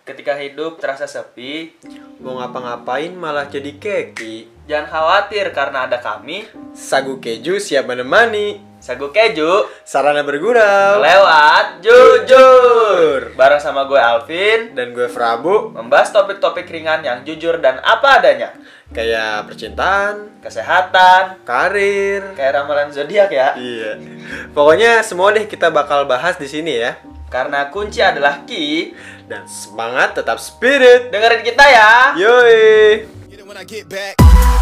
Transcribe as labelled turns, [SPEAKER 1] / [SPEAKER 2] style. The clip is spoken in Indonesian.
[SPEAKER 1] Ketika hidup terasa sepi,
[SPEAKER 2] Mau ngapa-ngapain malah jadi keki.
[SPEAKER 1] jangan khawatir karena ada kami,
[SPEAKER 2] Sagu keju siap menemani.
[SPEAKER 1] Sagu Keju,
[SPEAKER 2] Sarana bergurau.
[SPEAKER 1] lewat jujur. Bareng sama gue Alvin,
[SPEAKER 2] Dan gue Prabu.
[SPEAKER 1] membahas topik-topik ringan yang jujur dan apa adanya.
[SPEAKER 2] Kayak percintaan,
[SPEAKER 1] Kesehatan,
[SPEAKER 2] karir.
[SPEAKER 1] kayak ramalan zodiak ya.
[SPEAKER 2] Iya. Pokoknya semua deh kita bakal bahas di sini ya.
[SPEAKER 1] Karena kunci adalah ki.
[SPEAKER 2] Dan semangat tetap spirit.
[SPEAKER 1] Dengerin kita ya.
[SPEAKER 2] Yoi.
[SPEAKER 3] Get it when I get back.